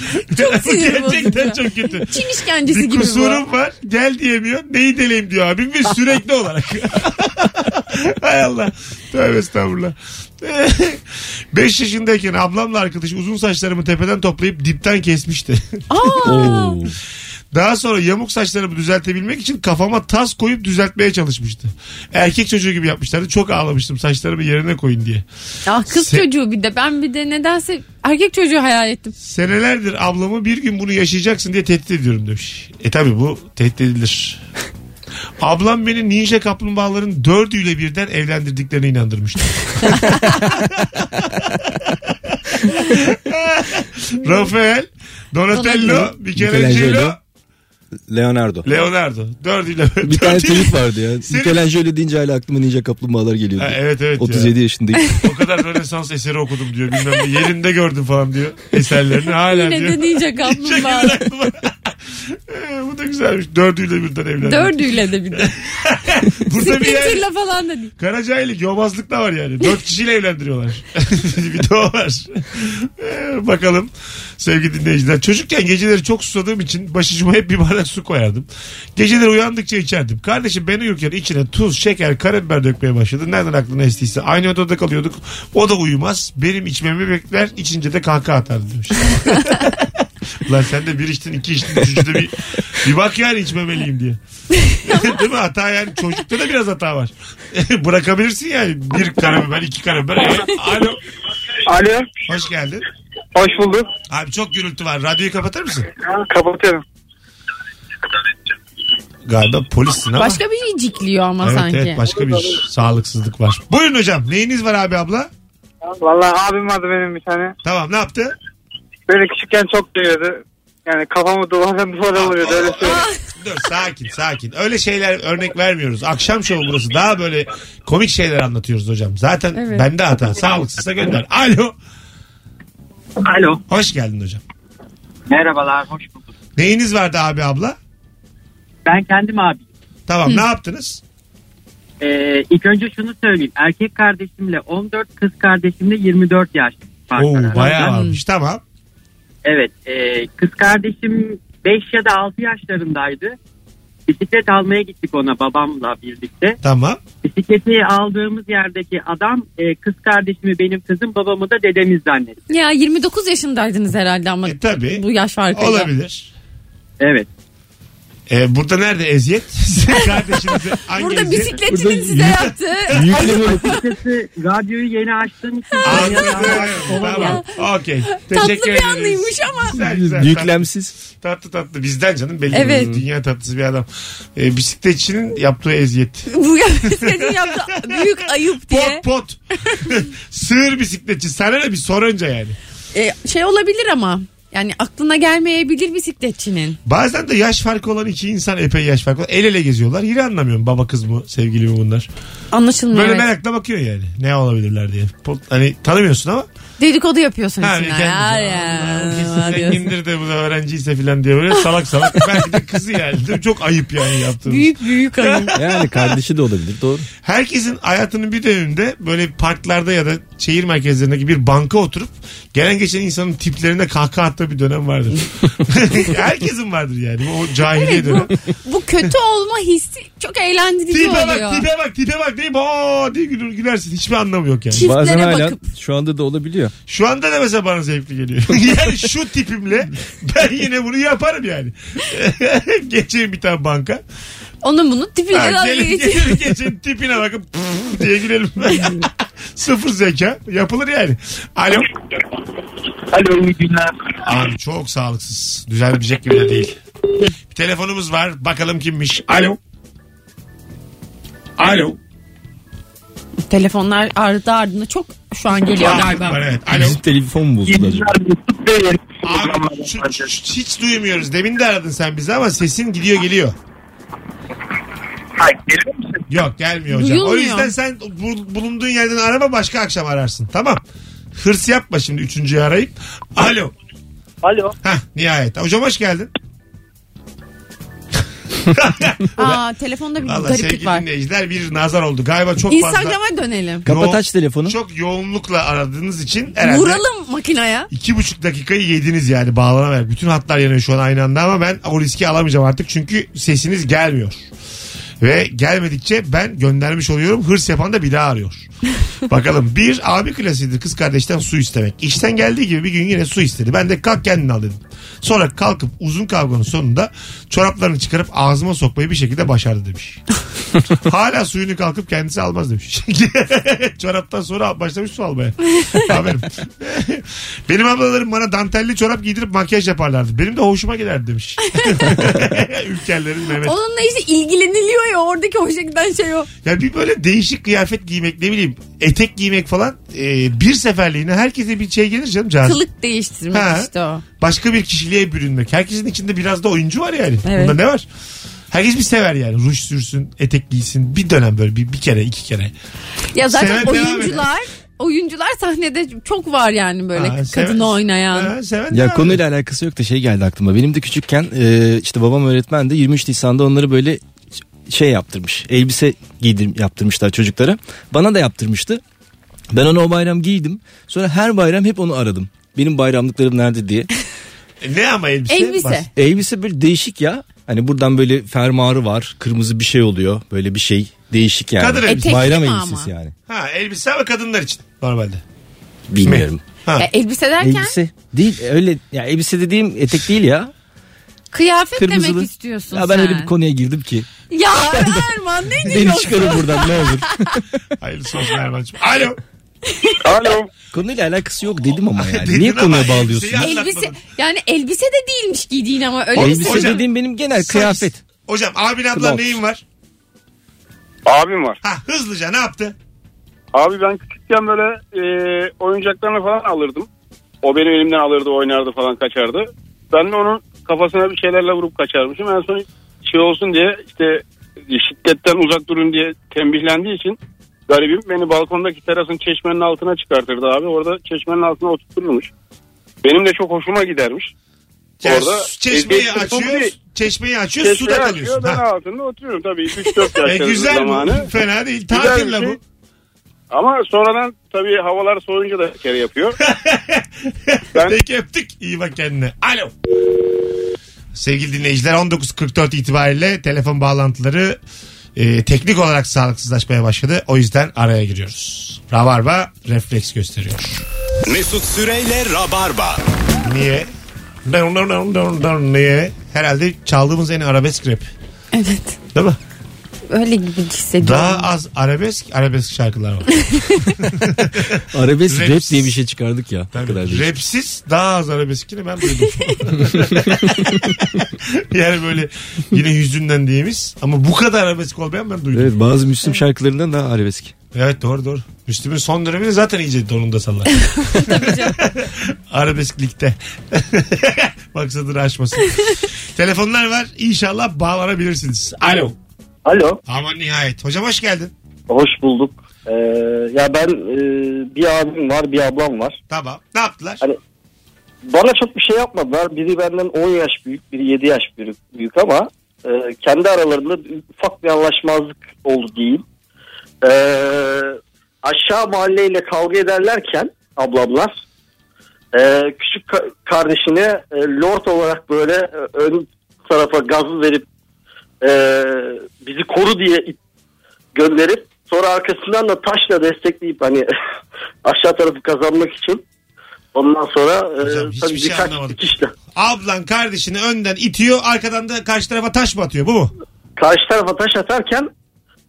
Speaker 3: sinir
Speaker 2: Gerçekten
Speaker 3: bozucu.
Speaker 2: çok kötü.
Speaker 3: Çin işkencesi
Speaker 2: Bir
Speaker 3: gibi bu.
Speaker 2: kusurum var. Gel diyemiyor. Neyi deleyim diyor abim ve sürekli olarak. Hay Allah. Tövbe estağfurullah. 5 yaşındayken ablamla arkadaş uzun saçlarımı tepeden toplayıp dipten kesmişti.
Speaker 3: Aa,
Speaker 4: Oo.
Speaker 2: Daha sonra yamuk saçlarımı düzeltebilmek için kafama tas koyup düzeltmeye çalışmıştı. Erkek çocuğu gibi yapmışlardı. Çok ağlamıştım saçlarımı yerine koyun diye.
Speaker 3: ah kız
Speaker 2: Se-
Speaker 3: çocuğu bir de ben bir de nedense erkek çocuğu hayal ettim.
Speaker 2: Senelerdir ablamı bir gün bunu yaşayacaksın diye tehdit ediyorum demiş. E tabi bu tehdit edilir. Ablam beni ninja kaplumbağaların dördüyle birden evlendirdiklerine inandırmıştı. Rafael, Donatello, Michelangelo,
Speaker 4: Michelangelo. Leonardo.
Speaker 2: Leonardo. Dördüyle.
Speaker 4: Bir tane
Speaker 2: dördüyle-
Speaker 4: tweet vardı ya.
Speaker 2: Senin-
Speaker 4: Michelangelo deyince hala aklıma ninja kaplumbağalar geliyordu.
Speaker 2: Ha, evet evet. ya.
Speaker 4: 37 yaşındayım.
Speaker 2: O kadar Rönesans eseri okudum diyor. Bilmem ne. Yerinde gördüm falan diyor. Eserlerini hala
Speaker 3: Yine
Speaker 2: diyor.
Speaker 3: de ninja kaplumbağa.
Speaker 2: Şaka yapma. Ee, Bu da güzelmiş. Dördüyle birden evlendim.
Speaker 3: Dördüyle de bir de.
Speaker 2: Burada bir yer.
Speaker 3: Sprinter'la falan da değil.
Speaker 2: Karacaylık, yobazlık da var yani. Dört kişiyle evlendiriyorlar. bir de o var. Ee, bakalım sevgili dinleyiciler. Çocukken geceleri çok susadığım için başucuma hep bir bardak su koyardım. Geceleri uyandıkça içerdim. Kardeşim ben uyurken içine tuz, şeker, karabiber dökmeye başladı. Nereden aklına estiyse. Aynı odada kalıyorduk. O da uyumaz. Benim içmemi bekler. İçince de kahkaha atardı demiş. Ulan sen de bir içtin, iki içtin, üçüncüde bir, bir bak yani içmemeliyim diye. Değil mi? Hata yani çocukta da biraz hata var. Bırakabilirsin yani. Bir karabiber, iki karabiber. Evet. Alo.
Speaker 10: Alo,
Speaker 2: Hoş geldin.
Speaker 10: hoş bulduk.
Speaker 2: Abi çok gürültü var. Radyoyu kapatır mısın?
Speaker 10: Kapatıyorum.
Speaker 2: Galiba polissin ama.
Speaker 3: Başka bir şey cikliyor ama
Speaker 2: evet,
Speaker 3: sanki.
Speaker 2: evet başka bir sağlıksızlık var. Buyurun hocam. Neyiniz var abi abla?
Speaker 10: Vallahi abim vardı benim bir tane.
Speaker 2: Tamam ne yaptı?
Speaker 10: Beni küçükken çok dövüyordu. Yani kafamı duvara duvara vuruyordu öyle
Speaker 6: şey.
Speaker 10: söyleyeyim.
Speaker 2: Dur sakin sakin. Öyle şeyler örnek vermiyoruz. Akşam şovu burası. Daha böyle komik şeyler anlatıyoruz hocam. Zaten
Speaker 3: Evet.
Speaker 2: bende hata. Sağlıksızsa gönder. Alo.
Speaker 7: Alo.
Speaker 2: Hoş geldin hocam.
Speaker 7: Merhabalar hoş bulduk.
Speaker 2: Neyiniz vardı abi abla?
Speaker 7: Ben kendim abi.
Speaker 2: Tamam ne yaptınız?
Speaker 7: Ee, ilk önce şunu söyleyeyim. Erkek kardeşimle 14, kız kardeşimle 24 yaş fark
Speaker 2: Oo,
Speaker 7: var.
Speaker 2: bayağı varmış. Tamam.
Speaker 7: Evet. e, kız kardeşim 5 ya da 6 yaşlarındaydı. Bisiklet almaya gittik ona babamla birlikte.
Speaker 2: Tamam. E,
Speaker 7: Bisikleti aldığımız yerdeki adam e, kız kardeşimi benim kızım babamı da dedemiz zannetti.
Speaker 3: Ya 29 yaşındaydınız herhalde ama
Speaker 2: E, tabii.
Speaker 3: bu yaş farkıyla.
Speaker 2: Olabilir.
Speaker 7: Evet.
Speaker 2: E, burada nerede eziyet? Sizin kardeşinize hangi
Speaker 3: Burada
Speaker 2: eziyet?
Speaker 3: bisikletinin
Speaker 4: Burada
Speaker 3: size yaptığı
Speaker 4: Yükleme
Speaker 7: Açıkçası radyoyu yeni açtığım için
Speaker 2: Anladım. tamam. Okey. Teşekkür
Speaker 3: tatlı bir
Speaker 2: ederiz.
Speaker 3: anlıymış ama.
Speaker 2: Güzel, güzel.
Speaker 4: Yüklemsiz.
Speaker 2: Tatlı tatlı. Bizden canım belli.
Speaker 3: Evet.
Speaker 2: Dünya tatlısı bir adam. E, bisikletçinin yaptığı eziyet.
Speaker 3: Bu bisikletin yaptığı büyük ayıp diye.
Speaker 2: Pot pot. Sığır bisikletçi. Sana ne bir sor önce yani.
Speaker 3: E, şey olabilir ama. Yani aklına gelmeyebilir bisikletçinin.
Speaker 2: Bazen de yaş farkı olan iki insan epey yaş farkı olan. El ele geziyorlar. Yine anlamıyorum baba kız mı sevgili mi bunlar.
Speaker 3: Anlaşılmıyor.
Speaker 2: Böyle
Speaker 3: evet.
Speaker 2: merakla bakıyor yani. Ne olabilirler diye. Pot- Hani tanımıyorsun ama
Speaker 3: Dedikodu yapıyorsun
Speaker 2: Ha,
Speaker 3: içine.
Speaker 2: kendisi.
Speaker 3: Ya,
Speaker 2: Allah, kesin
Speaker 3: ya, diyorsun.
Speaker 2: Zengindir de bu da öğrenciyse filan diye böyle salak salak. Belki de kızı yani. Değil mi? Çok ayıp yani yaptığımız.
Speaker 3: Büyük büyük ayıp.
Speaker 4: Yani kardeşi de olabilir doğru.
Speaker 2: Herkesin hayatının bir döneminde böyle parklarda ya da şehir merkezlerindeki bir banka oturup gelen geçen insanın tiplerine kahkaha attığı bir dönem vardır. Herkesin vardır yani. O cahiliye
Speaker 3: Evet,
Speaker 2: dönemi.
Speaker 3: bu, bu kötü olma hissi çok eğlendirici
Speaker 2: Tipe
Speaker 3: oluyor.
Speaker 2: bak, tipe bak, tipe bak deyip aa diye gülür, gülersin. Hiçbir anlamı yok yani.
Speaker 3: Çiftlere
Speaker 4: Bazen hala
Speaker 3: bakıp.
Speaker 4: şu anda da olabiliyor.
Speaker 2: Şu anda da mesela bana zevkli geliyor. yani şu tipimle ben yine bunu yaparım yani. Geçeyim bir tane banka.
Speaker 3: Onun bunun tipiyle
Speaker 2: Ha,
Speaker 3: dalga
Speaker 2: gelin,
Speaker 3: geçiyor.
Speaker 2: gelin geçin tipine bakın pf diye girelim. Sıfır zeka. Yapılır yani. Alo.
Speaker 10: Alo, iyi günler.
Speaker 2: Abi çok sağlıksız. Düzelmeyecek gibi de değil. Bir telefonumuz var. Bakalım kimmiş. Alo. Alo.
Speaker 3: Telefonlar ardı ardına çok şu an geliyor galiba.
Speaker 2: Var, evet. Alo.
Speaker 4: Bizim telefon mu bozuldu acaba?
Speaker 10: Mesut Bey.
Speaker 2: Abi, şu- şu- şu- hiç duymuyoruz. Demin de aradın sen bizi ama sesin gidiyor geliyor.
Speaker 10: Hayır, gelir misin?
Speaker 2: Yok gelmiyor hocam.
Speaker 3: Duyulmuyor.
Speaker 2: O yüzden sen bu- bulunduğun yerden arama başka akşam ararsın. Tamam. Hırs yapma şimdi üçüncüyü arayıp. Alo.
Speaker 7: Alo.
Speaker 2: Hah nihayet. Hocam hoş geldin.
Speaker 3: Aa telefonda bir
Speaker 2: Valla
Speaker 3: gariplik
Speaker 2: sevgili
Speaker 3: var.
Speaker 2: dinleyiciler bir nazar oldu. Galiba çok fazla
Speaker 3: Instagram'a dönelim.
Speaker 4: Kapat
Speaker 2: Yo-
Speaker 4: aç telefonu.
Speaker 2: çok yoğunlukla aradığınız için herhalde
Speaker 3: Vuralım makinaya.
Speaker 2: iki buçuk dakikayı yediniz yani bağlanamayarak. Bütün hatlar yanıyor şu an aynı anda ama ben o riski alamayacağım artık çünkü sesiniz gelmiyor. Ve gelmedikçe ben göndermiş oluyorum. Hırs yapan da bir daha arıyor. Bakalım bir abi klasiğidir kız kardeşten su istemek. İşten geldiği gibi bir gün yine su istedi. Ben de kalk kendin al dedim. Sonra kalkıp uzun kavganın sonunda çoraplarını çıkarıp ağzıma sokmayı bir şekilde başardı demiş. Hala suyunu kalkıp kendisi almaz demiş. Çoraptan sonra başlamış su almaya. Haberim. Benim ablalarım bana dantelli çorap giydirip makyaj yaparlardı. Benim de hoşuma giderdi demiş. Ülkerlerin Mehmet.
Speaker 3: Onunla işte ilgileniliyor ya oradaki hoşa giden şey o.
Speaker 2: Ya bir böyle değişik kıyafet giymek ne bileyim etek giymek falan e, bir seferliğine herkese bir şey gelir canım cazip.
Speaker 3: Kılık değiştirmek
Speaker 2: Ha.
Speaker 3: işte o.
Speaker 2: Başka bir kişiliğe bürünmek. Herkesin içinde biraz da oyuncu var yani.
Speaker 3: Evet.
Speaker 2: Bunda ne var? Herkes bir sever yani. Ruj sürsün, etek giysin. Bir dönem böyle bir, bir kere, iki kere.
Speaker 3: Ya zaten
Speaker 2: Seven devam
Speaker 3: oyuncular oyuncular sahnede çok var yani böyle
Speaker 2: Ha,
Speaker 3: kadını
Speaker 2: seven-
Speaker 3: oynayan.
Speaker 2: Ha, seven
Speaker 4: Ya
Speaker 2: devam ediyor.
Speaker 4: konuyla alakası yok da şey geldi aklıma. Benim de küçükken e, işte babam öğretmendi. 23 Nisan'da onları böyle şey yaptırmış. Elbise giydir yaptırmışlar çocuklara. Bana da yaptırmıştı. Ben onu o bayram giydim. Sonra her bayram hep onu aradım. Benim bayramlıklarım nerede diye.
Speaker 2: E, Ne ama elbise?
Speaker 3: Elbise.
Speaker 2: Bas-
Speaker 4: Elbise böyle değişik ya. Hani buradan böyle fermuarı var. Kırmızı bir şey oluyor. Böyle bir şey değişik yani.
Speaker 2: Kadın elbisesi.
Speaker 4: Bayram
Speaker 3: Etekli mi
Speaker 4: elbisesi
Speaker 3: ama?
Speaker 4: yani.
Speaker 2: Ha elbise ama kadınlar için normalde.
Speaker 4: Bilmiyorum.
Speaker 2: Ha.
Speaker 3: Ya elbise derken
Speaker 4: Elbise değil öyle ya elbise dediğim etek değil ya.
Speaker 3: kıyafet
Speaker 4: Kırmızılı.
Speaker 3: demek istiyorsun
Speaker 4: ya ben
Speaker 3: sen.
Speaker 4: öyle bir konuya girdim ki.
Speaker 3: Ya Erman ne
Speaker 4: Beni
Speaker 3: diyorsun?
Speaker 4: çıkarın buradan ne olur.
Speaker 2: Hayırlısı olsun Erman'cığım. Alo.
Speaker 10: Alo.
Speaker 4: Konuyla alakası yok dedim ama yani.
Speaker 2: Dedin
Speaker 4: Niye
Speaker 2: ama
Speaker 4: konuya
Speaker 2: elbiseyi
Speaker 4: bağlıyorsun?
Speaker 2: al-
Speaker 3: Elbise
Speaker 2: Anlatmadım.
Speaker 3: yani elbise de değilmiş giydiğin ama öyle şey. mi?
Speaker 4: Elbise
Speaker 2: Hocam-
Speaker 4: dediğim benim genel kıyafet.
Speaker 2: Hocam abin abla
Speaker 4: Kılavuz.
Speaker 2: neyin var?
Speaker 10: Abim var.
Speaker 2: Ha hızlıca ne yaptı?
Speaker 10: Abi ben küçükken böyle e, oyuncaklarını falan alırdım. O benim elimden alırdı, oynardı falan kaçardı. Ben de onun kafasına bir şeylerle vurup kaçarmışım. En son şey olsun diye işte şiddetten uzak durun diye tembihlendiği için garibim beni balkondaki terasın çeşmenin altına çıkartırdı abi. Orada çeşmenin altına oturturmuş. Benim de çok hoşuma gidermiş.
Speaker 2: Yani
Speaker 10: Orada
Speaker 2: su- çeşmeyi
Speaker 10: elbise çok
Speaker 2: açıyor,
Speaker 10: iyi.
Speaker 2: çeşmeyi açıyor,
Speaker 10: Çeşmeyi
Speaker 2: suda
Speaker 10: açıyor,
Speaker 2: kalıyorsun.
Speaker 10: Ben
Speaker 2: Ha.
Speaker 10: altında oturuyorum tabii 3-4
Speaker 2: E,
Speaker 10: yaş
Speaker 2: güzel
Speaker 10: zamanı.
Speaker 2: bu. Fena değil.
Speaker 10: Güzel bir
Speaker 2: Tatil la
Speaker 10: şey.
Speaker 2: bu.
Speaker 10: Ama sonradan tabii havalar soğuyunca da bir kere yapıyor. Ben-
Speaker 2: Peki öptük. İyi bak kendine. Alo. Sevgili dinleyiciler 19.44 itibariyle telefon bağlantıları e, teknik olarak sağlıksızlaşmaya başladı. O yüzden araya giriyoruz. Rabarba refleks gösteriyor.
Speaker 1: Mesut Süreyle Rabarba.
Speaker 2: Niye? Dın dın dın dın dın. Niye? Herhalde çaldığımız en arabesk rap.
Speaker 3: Evet.
Speaker 2: Değil mi?
Speaker 3: Öyle gibi hissediyorum.
Speaker 2: Daha az arabesk arabesk şarkılar var.
Speaker 4: Arabesk
Speaker 2: Raps.
Speaker 4: rap diye bir şey çıkardık ya. Ne kadar değişik.
Speaker 2: Rapsiz daha az arabeskini ben duydum. yani böyle yine yüzünden diyemiz ama bu kadar arabesk olmayan ben duydum. Evet,
Speaker 4: Evet bazı Müslüm şarkılarından daha arabesk.
Speaker 2: doğru doğru. Müslüm'ün son dönemini zaten iyice donunda sallar. Tabii canım. Arabesklikte. Maksadını aşmasın. Telefonlar var. İnşallah bağlanabilirsiniz. Alo.
Speaker 7: Alo.
Speaker 2: Aman nihayet. Hocam hoş geldin.
Speaker 7: Hoş bulduk. Ee, ya ben e, bir abim var bir ablam var.
Speaker 2: Tamam. Ne yaptılar?
Speaker 7: Alo. Bana çok bir şey yapmadılar. Biri benden 10 yaş büyük, biri 7 yaş büyük, büyük ama e, kendi aralarında ufak bir anlaşmazlık oldu diyeyim. E, aşağı mahalleyle kavga ederlerken ablamlar e, küçük ka- kardeşini e, lord olarak böyle e, ön tarafa gazı verip e, bizi koru diye it- gönderip sonra arkasından da taşla destekleyip hani aşağı tarafı kazanmak için Ondan sonra e,
Speaker 2: Hocam hiçbir
Speaker 7: tabii
Speaker 2: şey
Speaker 7: birkaç
Speaker 2: anlamadık.
Speaker 7: dikişle.
Speaker 2: Ablan kardeşini önden itiyor. Arkadan da karşı tarafa taş mı atıyor? Bu mu?
Speaker 7: Karşı tarafa taş atarken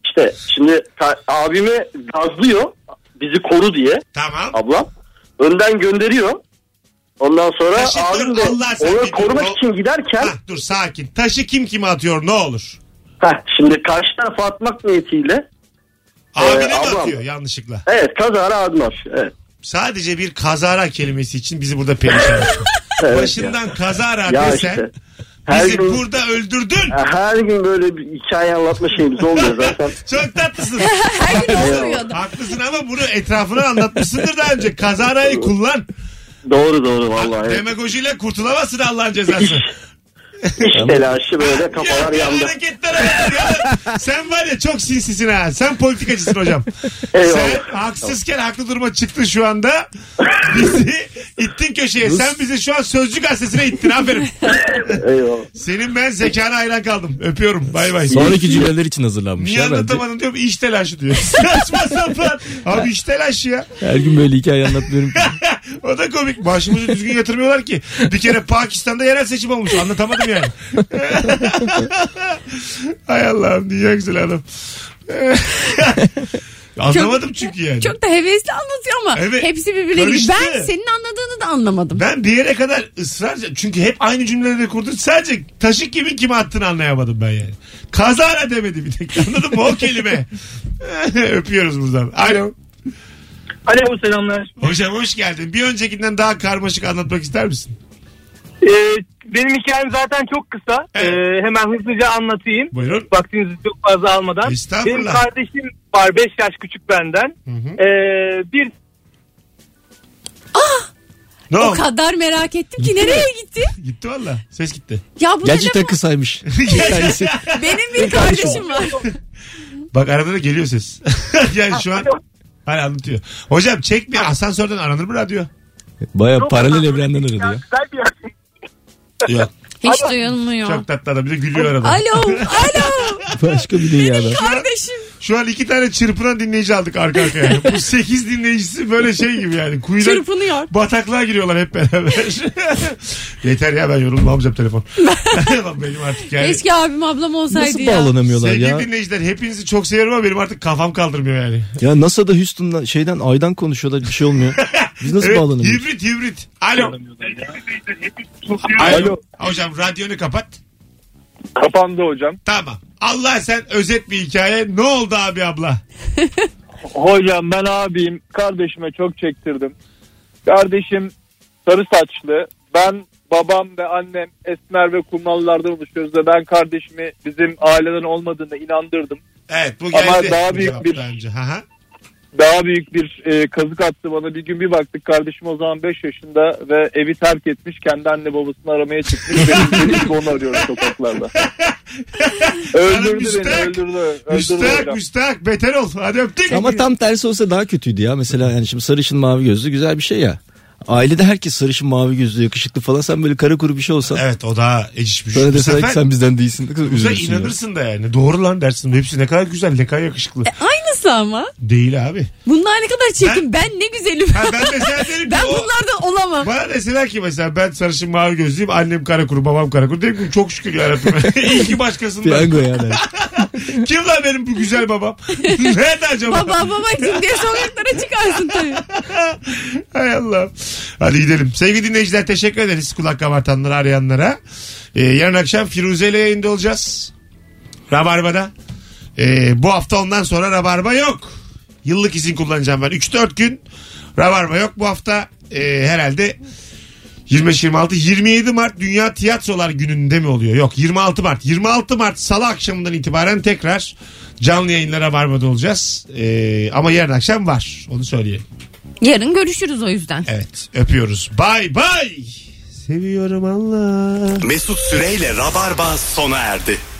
Speaker 7: işte şimdi ka- abimi gazlıyor bizi koru diye
Speaker 2: Tamam.
Speaker 7: ablam. Önden gönderiyor. Ondan sonra
Speaker 2: Taşı
Speaker 7: abim
Speaker 2: dur,
Speaker 7: de
Speaker 2: Allah sen
Speaker 7: onu
Speaker 2: bir dur,
Speaker 7: korumak
Speaker 2: o-
Speaker 7: için giderken
Speaker 2: Hah, dur sakin. Taşı kim kime atıyor ne olur?
Speaker 7: heh, şimdi karşı tarafa atmak niyetiyle
Speaker 2: Abine mi
Speaker 7: Ee, ablam.
Speaker 2: atıyor yanlışlıkla?
Speaker 7: evet kazara abim atıyor. Evet.
Speaker 2: Sadece bir kazara kelimesi için bizi burada perişan etme.
Speaker 7: evet ya.
Speaker 2: Başından kazara
Speaker 7: Ya
Speaker 2: desen
Speaker 7: işte. Her
Speaker 2: Bizi
Speaker 7: gün-
Speaker 2: burada öldürdün.
Speaker 7: Her gün böyle bir hikaye anlatma şeyimiz olmuyor zaten.
Speaker 2: Çok tatlısın.
Speaker 3: Her gün oturuyordu.
Speaker 2: Haklısın ama bunu etrafına anlatmışsındır daha önce. Kazarayı kullan.
Speaker 7: Doğru doğru vallahi. evet.
Speaker 2: Demagojiyle kurtulamazsın Allah'ın cezası.
Speaker 7: İş telaşı böyle kafalar
Speaker 2: Ya,
Speaker 7: yandı.
Speaker 2: hareketlere bak ya. Sen var ya çok sinsisin ha. Sen politikacısın hocam. Sen
Speaker 7: Eyvallah.
Speaker 2: haksızken haklı duruma çıktın şu anda. Bizi ittin köşeye. Sen bizi şu an Sözcü Gazetesi'ne ittin. Aferin.
Speaker 7: Eyvallah.
Speaker 2: Senin ben zekana hayran kaldım. Öpüyorum. Bay bay.
Speaker 4: Sonraki cümleler için hazırlanmış.
Speaker 2: Niye
Speaker 4: ya bence.
Speaker 2: anlatamadın diyorum iş telaşı diyor. Saçma sapan. Abi iş telaşı ya.
Speaker 4: Her gün böyle hikaye anlatmıyorum. ki.
Speaker 2: O da komik. Başımızı düzgün yatırmıyorlar ki. Bir kere Pakistan'da yerel seçim olmuş. Anlatamadım yani. Hay Allah'ım dünya güzel adam. Anlamadım çünkü yani.
Speaker 3: Çok da hevesli anlatıyor ama
Speaker 2: Evet.
Speaker 3: hepsi birbirine gibi.
Speaker 2: Karıştı.
Speaker 3: Ben senin anladığını da anlamadım.
Speaker 2: Ben bir yere kadar ısrarca çünkü hep aynı cümleleri kurdun. Sadece taşı kimin kime attığını anlayamadım ben yani. Kazara demedi bir tek. Anladın mı o kelime? Öpüyoruz buradan. Alo.
Speaker 10: Alo selamlar.
Speaker 2: Hocam hoş geldin. Bir öncekinden daha karmaşık anlatmak ister misin?
Speaker 7: Ee,
Speaker 10: E, benim hikayem zaten çok kısa. E,
Speaker 2: Evet.
Speaker 10: hemen hızlıca anlatayım.
Speaker 2: Buyurun.
Speaker 10: vaktinizi çok fazla almadan.
Speaker 2: Estağfurullah.
Speaker 10: Benim kardeşim var 5 yaş küçük benden. Ee, bir
Speaker 2: Ne
Speaker 3: O
Speaker 2: oldu?
Speaker 3: kadar merak ettim ki nereye gitti?
Speaker 2: Gitti valla. Ses gitti.
Speaker 3: Ya bu
Speaker 4: Gerçekten
Speaker 3: telefon
Speaker 4: kısaymış.
Speaker 3: benim bir kardeşim var.
Speaker 2: Bak arada da geliyor ses. yani şu an Hala anlatıyor. Hocam çekme asansörden aranır mı radyo?
Speaker 4: Baya paralel evrenden aradı ya.
Speaker 10: güzel bir yer.
Speaker 2: Yok.
Speaker 3: Hiç duyulmuyor.
Speaker 2: Çok tatlı adam. Bir de gülüyor arada.
Speaker 3: Alo, alo
Speaker 4: Başka bir dünyada.
Speaker 3: kardeşim.
Speaker 2: Şu an iki tane çırpınan dinleyici aldık arka arkaya. Bu sekiz dinleyicisi böyle şey gibi yani. Kuyudan
Speaker 3: Çırpınıyor.
Speaker 2: bataklığa giriyorlar hep beraber. Yeter ya ben yorulmamayacağım telefon. benim artık yani.
Speaker 3: Eski abim ablam olsaydı
Speaker 4: Nasıl
Speaker 3: ya.
Speaker 4: bağlanamıyorlar
Speaker 2: Sevgili
Speaker 4: ya?
Speaker 2: dinleyiciler hepinizi çok seviyorum ama benim artık kafam kaldırmıyor yani.
Speaker 4: Ya NASA'da Houston'dan şeyden aydan konuşuyorlar bir şey olmuyor. Biz nasıl
Speaker 2: Evet,
Speaker 4: bağlanamıyoruz?
Speaker 2: hibrit hibrit. Alo. Alo.
Speaker 10: Alo.
Speaker 2: Hocam radyonu kapat.
Speaker 10: Kapandı hocam.
Speaker 2: Tamam. Allah sen özet bir hikaye. Ne oldu abi abla?
Speaker 10: Hocam ben abiyim. Kardeşime çok çektirdim. Kardeşim sarı saçlı. Ben babam ve annem esmer ve kumrallardan oluşuyoruz da ben kardeşimi bizim aileden olmadığına inandırdım.
Speaker 2: Evet bu
Speaker 10: Ama
Speaker 2: geldi.
Speaker 10: daha
Speaker 2: Bu
Speaker 10: büyük
Speaker 2: cevap
Speaker 10: bir-
Speaker 2: daha önce. Hı hı.
Speaker 10: Daha büyük bir e, kazık attı bana. Bir gün bir baktık kardeşim o zaman 5 yaşında ve evi terk etmiş. Kendi anne babasını aramaya çıkmış. Benim birlikte onu arıyoruz sokaklarda. öldürdü beni
Speaker 2: müstahak-
Speaker 10: öldürdü. öldürdü
Speaker 2: Müstahak
Speaker 10: hocam.
Speaker 2: müstahak beter ol. Hadi öptük.
Speaker 4: Ama tam tersi olsa daha kötüydü ya. Mesela yani şimdi sarışın mavi gözlü güzel bir şey ya. Ailede herkes sarışın mavi gözlü yakışıklı falan sen böyle kara kuru bir şey olsan.
Speaker 2: Evet o daha ecişmiş.
Speaker 4: Sonra
Speaker 2: Bu
Speaker 4: deseler
Speaker 2: sefer
Speaker 4: ki sen bizden değilsin. Ne kadar
Speaker 2: bu sefer
Speaker 4: üzülürsün ya.
Speaker 2: inanırsın da yani. Doğru lan dersin. Hepsi ne kadar güzel ne kadar yakışıklı.
Speaker 3: Aynısı ama.
Speaker 2: Değil abi.
Speaker 3: Bunlar ne kadar çirkin. Ben, ne güzelim.
Speaker 2: Ha, ben mesela derim ki
Speaker 3: ben
Speaker 2: o-
Speaker 3: bunlardan olamam.
Speaker 2: Bana deseler ki mesela ben sarışın mavi gözlüyüm. Annem kara kuru babam kara kuru. Derim ki çok şükür yarabbim. İyi ki başkasından.
Speaker 4: Piyango ya der.
Speaker 2: Kim lan benim bu güzel babam? Nerede acaba?
Speaker 3: Baba babacım diye sokaklara çıkarsın tabii.
Speaker 2: Hay Allah. Hadi gidelim. Sevgili dinleyiciler teşekkür ederiz kulak kabartanlara arayanlara. Ee, yarın akşam Firuze ile yayında olacağız. Rabarba'da. Ee, bu hafta ondan sonra Rabarba yok. Yıllık izin kullanacağım ben. 3-4 gün Rabarba yok. Bu hafta e, herhalde 25-26-27 Mart Dünya Tiyatrolar Günü'nde mi oluyor? Yok 26 Mart. 26 Mart Salı akşamından itibaren tekrar canlı yayınlara varmada olacağız. Ee, ama yarın akşam var. Onu söyleyelim.
Speaker 3: Yarın görüşürüz o yüzden.
Speaker 2: Evet öpüyoruz. Bay bay. Seviyorum Allah.
Speaker 1: Mesut Süreyle Rabarba sona erdi.